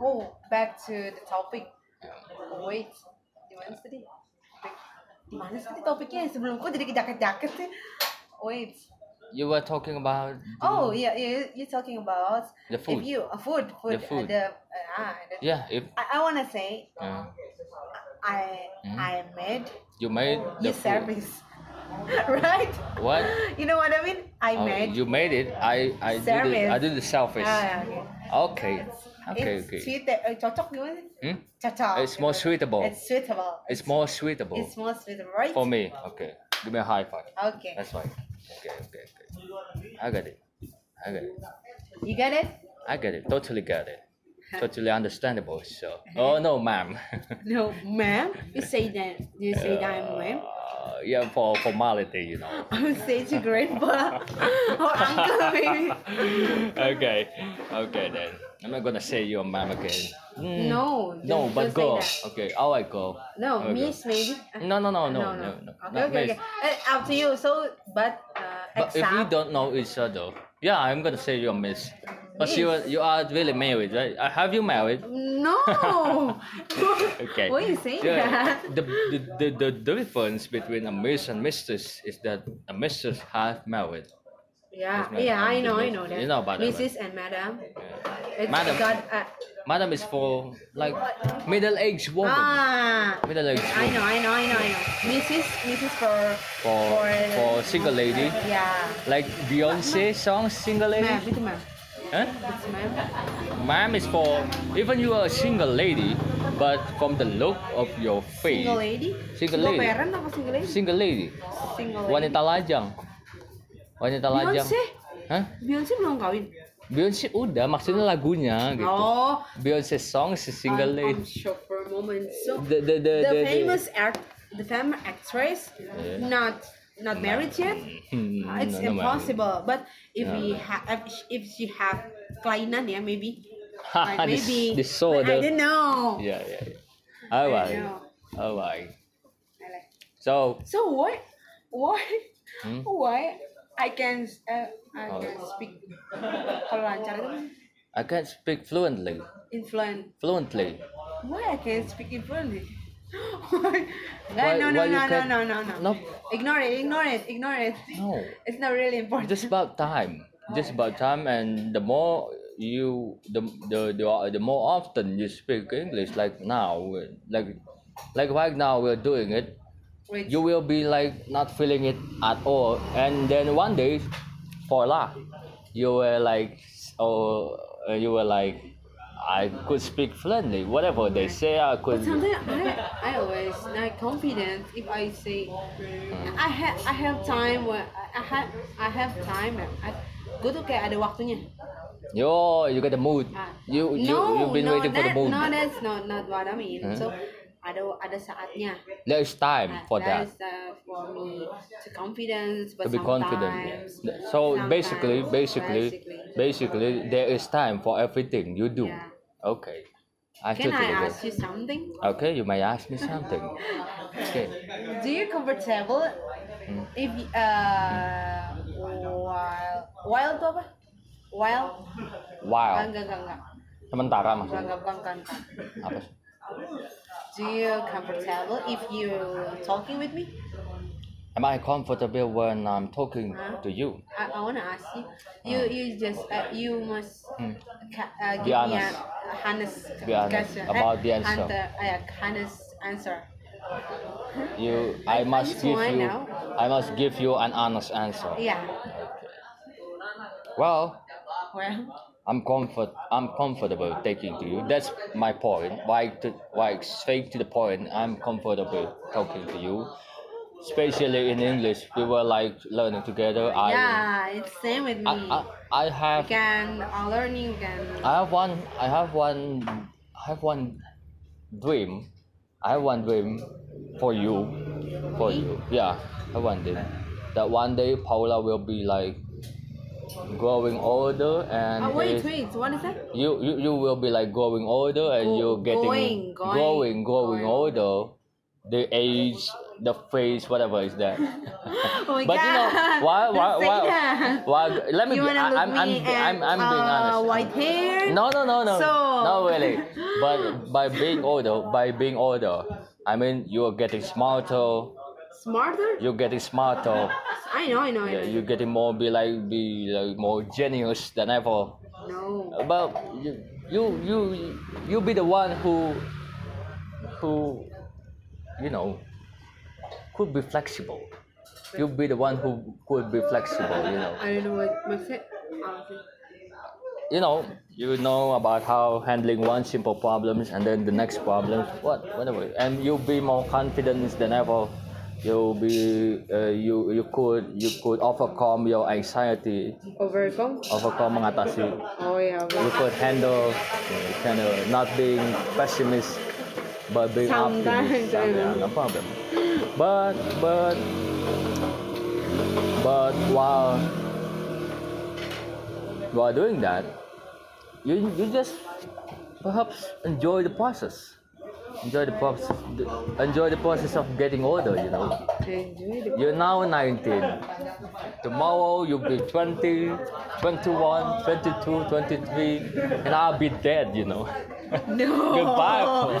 B: oh back to the topic wait di mana sih tadi di mana sih tadi topiknya sebelum kok jadi kejaket-jaket sih wait
A: You were talking about
B: oh yeah yeah you're talking about
A: the
B: if
A: food.
B: you uh, food food,
A: food.
B: Uh, the uh, ah, the-
A: Yeah, if
B: I, I wanna say
A: uh,
B: I
A: Mhm.
B: I made
A: you made the
B: your
A: food.
B: service right
A: What?
B: you know what I mean I
A: Oh,
B: made
A: you made it. I I did it.
B: Service.
A: I did the selfish.
B: Ah,
A: Okay.
B: okay.
A: Okay,
B: it's
A: okay.
B: sweet eh, cocok gimana sih?
A: Hmm?
B: Cocok.
A: It's more suitable.
B: It's suitable.
A: It's more suitable
B: It's more suitable, right?
A: for me. Okay. Give me a high five.
B: Okay.
A: That's fine. Okay, okay, okay. I got it. I got it.
B: You got it?
A: I get it. Totally get it. Totally understandable. So, oh no, ma'am.
B: No, ma'am. You say that. You say that I'm ma'am.
A: Uh, yeah, for formality, you know.
B: I'm such a grandpa or uncle maybe.
A: Hmm. okay, okay then. I'm not gonna say you're ma'am again. Mm,
B: No.
A: No,
B: don't-
A: but go.
B: don't say that.
A: Okay, all right, go.
B: No,
A: Okay.
B: miss maybe.
A: No, no, no, no, no, no.
B: Okay,
A: Not
B: okay,
A: miss.
B: okay. Eh, up to you. So, but uh,
A: But if we
B: except
A: don't know each other, yeah, I'm gonna say you're miss. But you are,
B: Miss.
A: you are really married, right? Uh, Have you married?
B: no.
A: Okay.
B: Why you saying
A: the,
B: that?
A: The, the, the, the difference between a miss and mistress is that a mistress have married.
B: Yeah,
A: That's my-
B: yeah, I
A: I'm
B: know, I
A: doing-
B: know that.
A: you know about that,
B: Mrs. and Madam. It's
A: Madam.
B: got uh, a,
A: Madam is for like middle-aged woman.
B: ah.
A: middle-aged
B: I
A: woman.
B: know, I know, I know, I know. Mrs. Mrs. for
A: For, for single lady.
B: yeah.
A: Like Beyonce song, single lady.
B: Ma'am, itu ma'am.
A: Huh?
B: It's ma'am.
A: Ma'am is for even you are a single lady, but from the look of your face,
B: Single lady.
A: Single lady.
B: parent apa single lady?
A: single lady,
B: Single lady.
A: wanita lajang, wanita lajang.
B: Beyonce?
A: Hah?
B: Beyonce belum kawin.
A: Beyonce udah maksudnya lagunya gitu.
B: Oh.
A: Beyonce song is single
B: I'm- I'm
A: lady.
B: shocked for a moment. So
A: The the the,
B: the,
A: the, the-
B: famous act, the famous actress,
A: Yeah.
B: not not married yet.
A: Hmm,
B: Uh, It's
A: no, no, ma'am.
B: impossible. But if
A: No,
B: we
A: ma'am.
B: have, if she have kelainan ya, maybe.
A: Haha, Ah,
B: Like,
A: this,
B: maybe.
A: this so
B: But I
A: the
B: don't know.
A: yeah yeah. yeah.
B: I
A: Alright,
B: don't know.
A: alright.
B: I like-
A: So
B: So why, why,
A: Hmm?
B: why I can uh, I
A: Oh.
B: can speak kalau lancar itu
A: I can speak fluently,
B: influent.
A: fluently.
B: Why I can speak influently? why?
A: Why-
B: no no
A: why you
B: no no
A: can-
B: no no no.
A: No,
B: Ignore it, ignore it, ignore it.
A: no.
B: It's not really important.
A: just about time just about time and the more you the the the, the more often you speak english like now like like right now we're doing it
B: Wait.
A: you will be like not feeling it at all and then one day voila you were like oh uh, you were like i could speak fluently whatever they say i
B: But
A: could
B: sometimes I, I always not confident if I say
A: Hmm.
B: I have I have time where I have I have time. I, gue tuh kayak ada waktunya.
A: yo you get the mood
B: Ah.
A: Oh, you you
B: no,
A: you've been
B: no,
A: waiting for the
B: that-
A: mood
B: No, that's not not what I mean.
A: Huh?
B: So ada ada saatnya.
A: there's time
B: Nah,
A: for that
B: is the- for me to confidence, but
A: to be confident.
B: sometimes,
A: yeah. Th- So basically,
B: sometimes,
A: basically,
B: basically.
A: basically, there is time for everything you do.
B: Yeah.
A: Okay, I
B: Can I
A: totally get-
B: ask you something?
A: Okay, you may ask me something. Okay,
B: Do you comfortable
A: Hmm?
B: if uh while while tuh apa? While
A: wow,
B: enggak enggak enggak
A: sementara
B: enggak
A: maksudnya
B: enggak bukan bukan, bukan.
A: apa? sih?
B: Do you comfortable if you talking with me?
A: Am I comfortable when I'm talking
B: Huh?
A: to you?
B: I, I wanna ask you. You you just uh, you must
A: Hmm.
B: ca- uh, give
A: Be
B: me
A: honest.
B: a, a honest
A: Be honest
B: question. eh?
A: about the answer.
B: Hunter, uh, honest answer.
A: You, I must
B: just
A: give
B: want
A: you,
B: now.
A: I must give you an honest answer.
B: Yeah.
A: Well,
B: Well,
A: I'm comfort, I'm comfortable taking to you. That's my point. Why, to, why straight to the point. I'm comfortable talking to you, especially in English. We were like learning together. I,
B: yeah, it's same with me.
A: I, I, I
B: we
A: have
B: can uh, learning can.
A: I have one. I have one. I have one dream. I have one dream for you. For you. Yeah. I have one dream. That one day Paula will be like growing older and
B: Oh wait,
A: is-
B: wait, what is that?
A: you, you you will be like growing older and
B: Go-
A: you're getting
B: going, going,
A: growing growing
B: going.
A: older. The age, the face, whatever is that.
B: Oh my
A: but
B: god.
A: you know why
B: Don't
A: why
B: say
A: why,
B: that.
A: why let me
B: you
A: be,
B: wanna
A: I,
B: look
A: I'm, I'm,
B: me
A: I'm,
B: and,
A: I'm being
B: uh,
A: honest.
B: White hair.
A: No, no, no, no.
B: So-
A: No, really. But by being older, by being older, I mean you're getting smarter.
B: Smarter?
A: You're getting smarter.
B: I know, I know, I
A: Yeah,
B: know.
A: you're getting more be like be like more genius than ever.
B: No.
A: But you you you you be the one who who you know could be flexible. You be the one who could be flexible. You know.
B: I don't know what makes it. honestly.
A: you know you know about how handling one simple problems and then the next problem what whatever and you'll be more confident than ever you'll be uh, you you could you could overcome your anxiety
B: Overcome?
A: overcome mengatasi
B: Oh yeah.
A: you could handle uh, kind of not being pessimist but being optimist
B: Sometimes,
A: yeah,
B: yeah.
A: no problem but but but while while doing that you you just perhaps enjoy the process enjoy the process enjoy the process of getting older you know
B: Enjoy the
A: you're now 19. Tomorrow you'll be 20, 21, 22, 23, and I'll be dead, you know.
B: No.
A: Goodbye,
B: Oh.
A: Paul.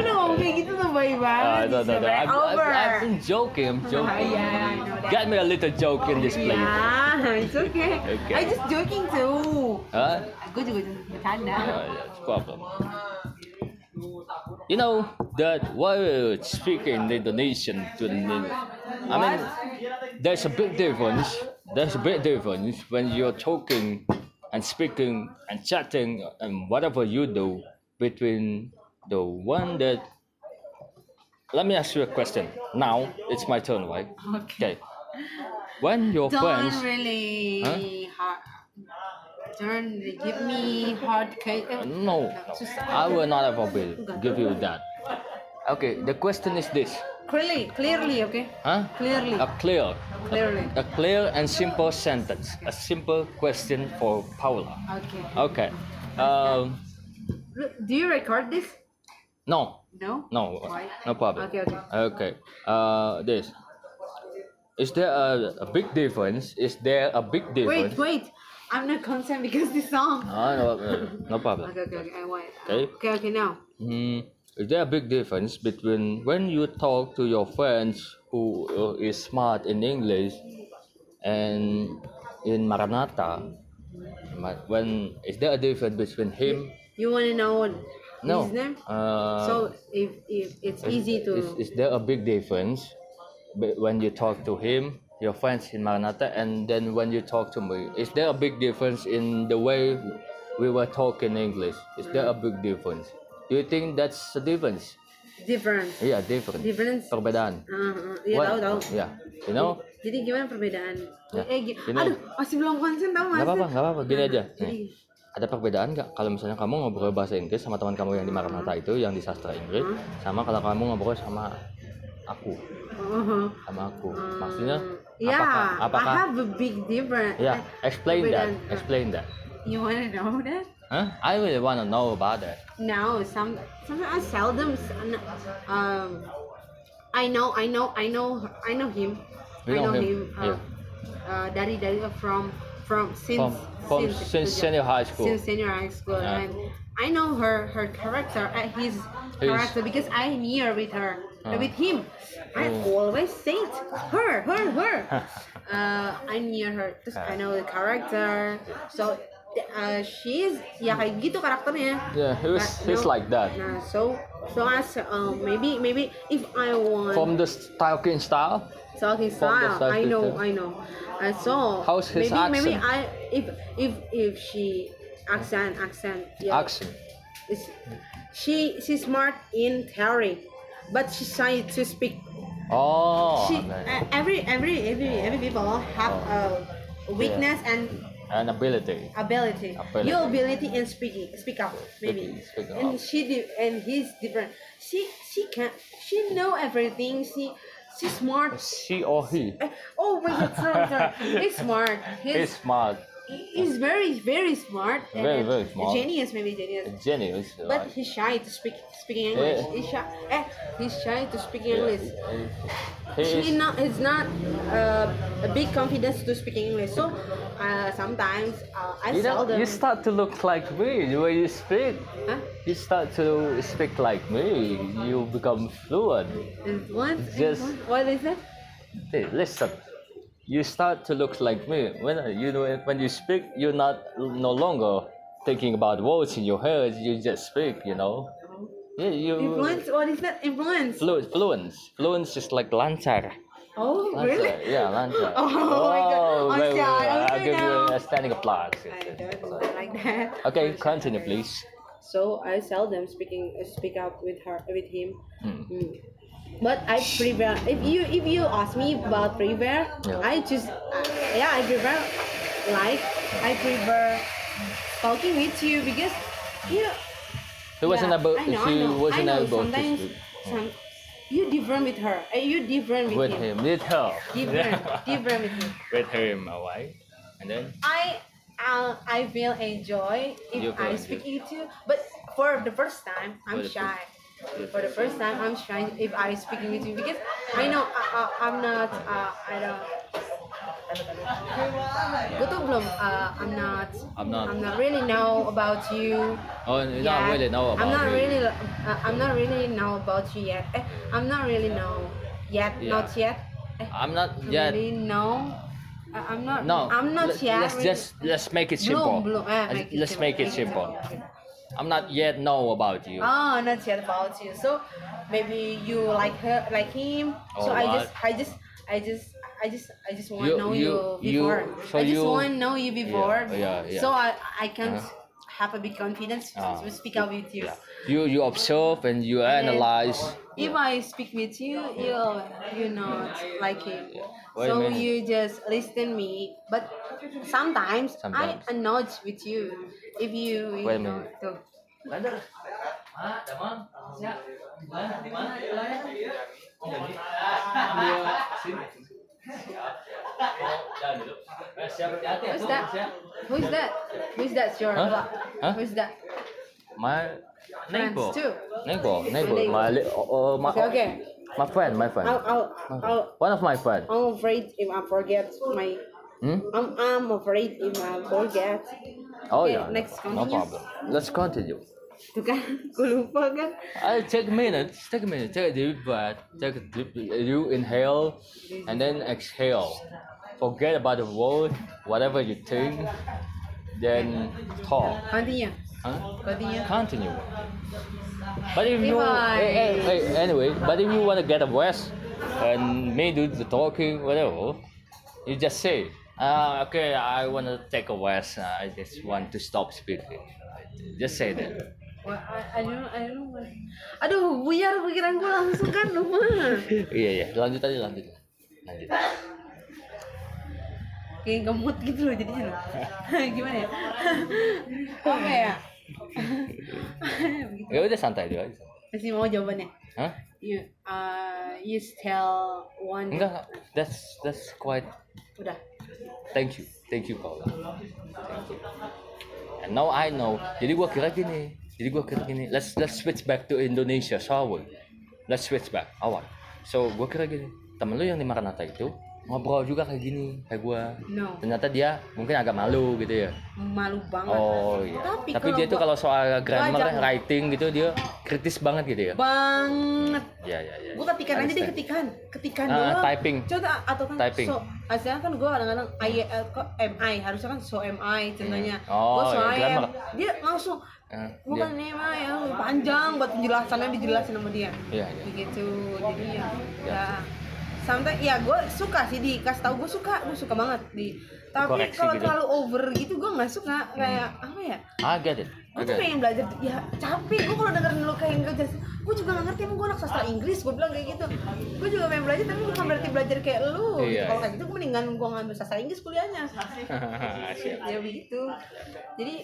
B: Lu ngomong kayak gitu tuh baik
A: Uh,
B: banget.
A: no, no, no.
B: Isabel.
A: I'm, I'm,
B: Over.
A: I'm joking, I'm
B: Ah,
A: joking.
B: yeah, I know that.
A: Get me a little joke in this place.
B: Yeah, it's okay.
A: Okay.
B: I just joking too.
A: Huh?
B: Gue juga just bercanda.
A: Yeah, yeah, it's problem. Uh, You know that while speaking Indonesian to the I mean, there's a big difference. There's a big difference when you're talking and speaking and chatting and whatever you do between the one that. Let me ask you a question. Now it's my turn, right? Okay. When your
B: Don't
A: friends,
B: really hard. Don't really give me hard case.
A: Uh, no, no, I will not ever be, give you that. Okay, the question is this,
B: Clearly, clearly, okay?
A: huh?
B: Clearly,
A: A clear,
B: clearly.
A: a clear and simple sentence, a simple question for Paula.
B: Okay.
A: Okay, um,
B: Lu- Do you record this?
A: no,
B: No.
A: no,
B: Why?
A: no problem.
B: Okay, okay.
A: Okay, uh, this. Is there a, a big difference? Is there a big
B: Wait,
A: difference? Ah,
B: wait. I'm not concerned because this song.
A: No, no, no, no problem.
B: Okay, okay, okay. I wait.
A: Okay.
B: Okay, okay. Now.
A: Hmm, is there a big difference between when you talk to your friends who uh, is smart in English and in Maranatha? Ma- When is there a difference between him?
B: You wanna know
A: No.
B: his name?
A: Uh,
B: so if if it's
A: is-
B: easy to.
A: Is, is there a big difference be- when you talk to him, your friends in Maranatha, and then when you talk to me? Is there a big difference in the way we were talking English? Is there a big difference? Do you think that's a difference?
B: different.
A: Iya, different.
B: Difference.
A: Perbedaan.
B: Uh, uh, ya
A: What-
B: tahu tahu.
A: Iya. You know?
B: Jadi gimana perbedaan?
A: Ya,
B: Eh, gi-
A: gini.
B: aduh, masih belum konsen tau
A: Gak
B: mas?
A: apa-apa, gak apa-apa. Gini aja.
B: Jadi,
A: Nih, ada perbedaan nggak kalau misalnya kamu ngobrol bahasa Inggris sama teman kamu yang di Maranatha
B: Hmm.
A: itu, yang di sastra Inggris, sama kalau kamu ngobrol sama aku,
B: oh,
A: sama aku. Maksudnya,
B: ya,
A: apakah, apakah,
B: I have a big difference.
A: ya, explain that,
B: Eh, perbedaan.
A: explain that.
B: You wanna know that?
A: Huh? I really wanna know about that.
B: No, some sometimes I seldom. s- n- Um, I know, I know, I know, I know him.
A: You
B: I
A: know
B: know
A: him,
B: him. uh,
A: yeah.
B: uh, dari dari from from since
A: From, from since senior
B: senior.
A: high school.
B: since senior high school
A: Yeah.
B: and I know her her character uh, his character because I near with her
A: Ah.
B: uh,
A: Mm.
B: with him I always say it her her her uh, I near her 'cause I know the character so uh, she is ya kayak gitu karakternya
A: Yeah, he was
B: But
A: he's
B: no.
A: like that.
B: nah so so as um, maybe maybe if I want
A: From the Stalking style,
B: talking
A: from the
B: style
A: side
B: I know
A: picture.
B: I know I saw
A: How's his
B: maybe maybe
A: accent?
B: I if if if she accent accent yeah
A: action.
B: is she she's smart in theory but she shy to speak
A: Oh,
B: she
A: okay.
B: uh, every every every every people have
A: Oh.
B: a weakness and
A: an ability.
B: ability.
A: Ability.
B: your ability in speaking speak up maybe
A: Speaking- speaking
B: and
A: up.
B: she di- and he's different she she can she know everything she she's smart
A: She or he
B: Eh, oh my god sorry sorry he's smart
A: is
B: he's
A: smart,
B: he's very very smart and
A: Very, very
B: then
A: smart.
B: genius maybe genius
A: a genius.
B: but
A: like,
B: he's shy to speak speaking English.
A: Yeah.
B: He's shy. Eh, he's shy to speak
A: yeah,
B: English.
A: he
B: He
A: is
B: not is not uh, a big confidence to speak English. So uh, sometimes uh, I
A: You know,
B: seldom.
A: you start to look like me the way you speak.
B: huh?
A: You start to speak like me. You become fluent.
B: And once, and
A: Just-
B: once- what is that?
A: Hey, listen. You start to look like me when you know when you speak. You're not no longer thinking about words in your head. You just speak. You know. Yeah, you
B: Influence. What is that? Influence.
A: fluent fluence fluence is like lancar.
B: Oh
A: Lancar,
B: really?
A: Yeah, lancar.
B: Oh my God. I'm
A: very
B: shy.
A: well.
B: I'm
A: I'll
B: shy
A: give you
B: now.
A: a standing applause.
B: I don't like that.
A: Okay,
B: I'm shy.
A: continue, please.
B: So I seldom speaking uh, speak up with her with him.
A: Hmm.
B: Mm. But I prefer if you if you ask me about prefer,
A: Yeah.
B: I just uh, yeah I prefer like I prefer talking with you because you
A: He wasn't
B: yeah,
A: able.
B: I know, I
A: she
B: know,
A: wasn't
B: I know.
A: able
B: sometimes
A: to speak
B: some, you different with her and you different with,
A: with
B: him.
A: him. With her.
B: different different with him.
A: with him, alright. And then
B: I uh, I will enjoy if
A: You
B: I
A: will
B: speak it too. But for the first time, I'm
A: For the
B: shy. For the first time, I'm shy if I speak with you because I know I, I, I'm not. Uh, I don't. Gue tuh belum, uh, I'm not,
A: I'm not.
B: I'm not really know about you.
A: oh, you don't really know about
B: I'm not
A: me.
B: really, uh, I'm not really know about you yet. Eh, I'm not really know yet,
A: Yeah.
B: not yet. Eh,
A: I'm not
B: I'm
A: yet.
B: really know. I- I'm not.
A: No,
B: I'm not
A: let-
B: yet.
A: Let's
B: really-
A: just let's make it simple.
B: Bloom, bloom. Eh,
A: Let's- let's make it simple. I'm not yet know about you.
B: Oh, not yet about you. So maybe you like her, like him. so
A: Or
B: I
A: what?
B: just, I just, I just. I just I just want
A: You-
B: to know you,
A: you- you-
B: before.
A: so
B: I just
A: you-
B: want to know you before.
A: yeah, yeah.
B: So I I can
A: Uh-huh.
B: have a big confidence
A: Ah.
B: to speak out with you.
A: Yeah. You you observe and you
B: And then-
A: analyze.
B: If I speak with you, you you not like it.
A: Wait a
B: So
A: minute.
B: you just listen me. But sometimes,
A: Sometimes.
B: I annoyed with you if you. you
A: Wait a
B: know,
A: minute.
B: tuh. Who's that? Who's that? Who's that? Your
A: Huh?
B: block?
A: Huh?
B: Who's that?
A: My neighbor,
B: Friends too.
A: neighbor, neighbor.
B: Neighbor.
A: My li- oh, oh, my
B: Okay, okay.
A: my friend, my friend.
B: I'll, I'll, I'll,
A: One of my friend.
B: I'm afraid if I forget my.
A: Hmm?
B: I'm, I'm afraid if I forget.
A: Oh
B: Okay,
A: yeah.
B: next,
A: no
B: continue.
A: problem. Let's continue.
B: Tuh kan, gue lupa kan.
A: I take a minute, take a minute, take a deep breath, take a deep you inhale and then exhale. Forget about the world, whatever you think, then talk.
B: Continue,
A: Huh?
B: continue.
A: Continue. But if you
B: Goodbye.
A: eh, eh, eh, anyway, but if you wanna get a rest and me do the talking, whatever, you just say, uh, okay, I wanna take a rest, I just want to stop speaking. Just say that.
B: Wah, I, I don't, I don't know. what- Aduh, buyar pikiran gue langsung kan, lupa.
A: Iya iya, lanjut aja lanjut. Lanjut.
B: Kayak gemut gitu loh jadinya. loh. Gimana ya? Apa ya? Begitu.
A: Ya udah santai dulu aja.
B: Masih mau jawabannya?
A: Hah?
B: You, uh, you tell one.
A: Enggak, enggak. that's that's quite.
B: Udah.
A: Thank you, thank you Paula. Thank you. And now I know. Jadi gua kira gini. Jadi gua kira gini. Let's let's switch back to Indonesia, shall we? Let's switch back. Awal. So gua kira gini. Temen lu yang di Maranatha itu ngobrol juga kayak gini kayak gua
B: No,
A: ternyata dia mungkin agak malu gitu ya
B: malu banget.
A: oh iya
D: Tapi
A: tapi,
D: kalau
A: dia tuh
D: gua-
A: kalau soal grammar
B: ajak-
A: writing gitu dia kritis banget gitu ya
B: Banget.
A: ya ya ya
B: Gue ketikan aja deh ketikan, ketikan
A: Ah,
B: doang.
A: typing.
B: Contoh atau kan
A: Typing.
B: so, asalnya kan gue kadang-kadang I, eh, kok MI harusnya kan so MI contohnya.
A: Iya. Oh,
B: gue so
A: iya,
B: I am.
A: grammar.
B: Dia langsung
A: Eh, dia-
B: bukan MI ya panjang buat penjelasannya dijelasin sama dia.
A: iya iya
B: gitu jadi ya ya sampai ya gue suka sih dikasih tahu gue suka gue suka banget di tapi
A: Dikoreksi
B: kalau
A: gitu.
B: terlalu over gitu gue nggak suka kayak apa ya
A: ah get it
B: gue tuh pengen belajar ya capek gue kalau dengerin lo kayak nggak jelas gue juga nggak ngerti emang gue anak sastra Inggris gue bilang kayak gitu gue juga pengen belajar tapi bukan berarti belajar kayak lu
A: Iya,
B: gitu. kalau
A: iya.
B: kayak gitu gue mendingan gue ngambil sastra Inggris kuliahnya
A: Ah,
B: ya begitu jadi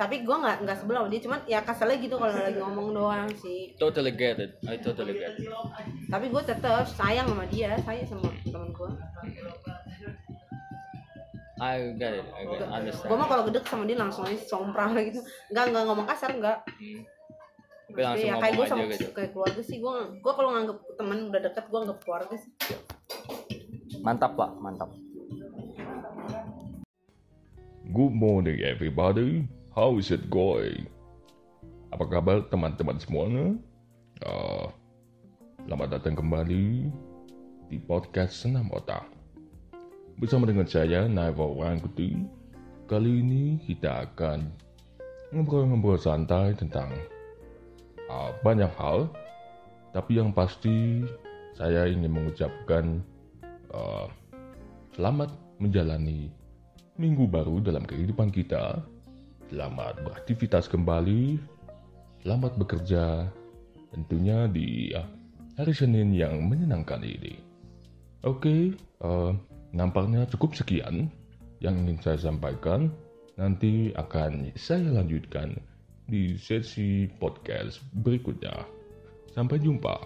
B: tapi gue nggak nggak sebelah sama dia cuman ya keselnya gitu kalau lagi ngomong doang sih
A: totally get it I totally get it
B: tapi gue tetap sayang sama dia sayang sama temen gue
A: I get it I get it understand
B: gue mah kalau gedek sama dia langsung aja somprah gitu nggak nggak ngomong kasar nggak
A: Hmm. tapi
B: Maksudnya
A: langsung
B: ya kayak gue
A: ngomong
B: sama
A: aja gitu
B: kayak keluarga sih gue gue kalau nganggep temen udah deket gue anggap keluarga sih
A: mantap pak mantap
E: Good morning everybody, how is it going? Apa kabar teman-teman semuanya? Ah, selamat datang kembali di podcast Senam Otak Bersama dengan saya, Naiva Wangkuti Kali ini kita akan ngobrol-ngobrol santai tentang ah, banyak hal Tapi yang pasti saya ingin mengucapkan ah, Selamat menjalani minggu baru dalam kehidupan kita. Selamat beraktivitas kembali. Selamat bekerja. Tentunya di ah, hari Senin yang menyenangkan ini. Oke, eh, nampaknya cukup sekian yang ingin saya sampaikan. Nanti akan saya lanjutkan di sesi podcast berikutnya. Sampai jumpa.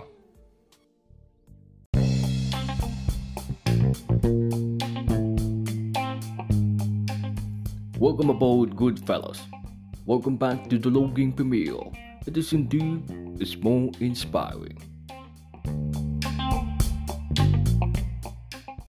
A: Welcome aboard, good fellows. Welcome back to the Logging Premiere. It is indeed it's more inspiring.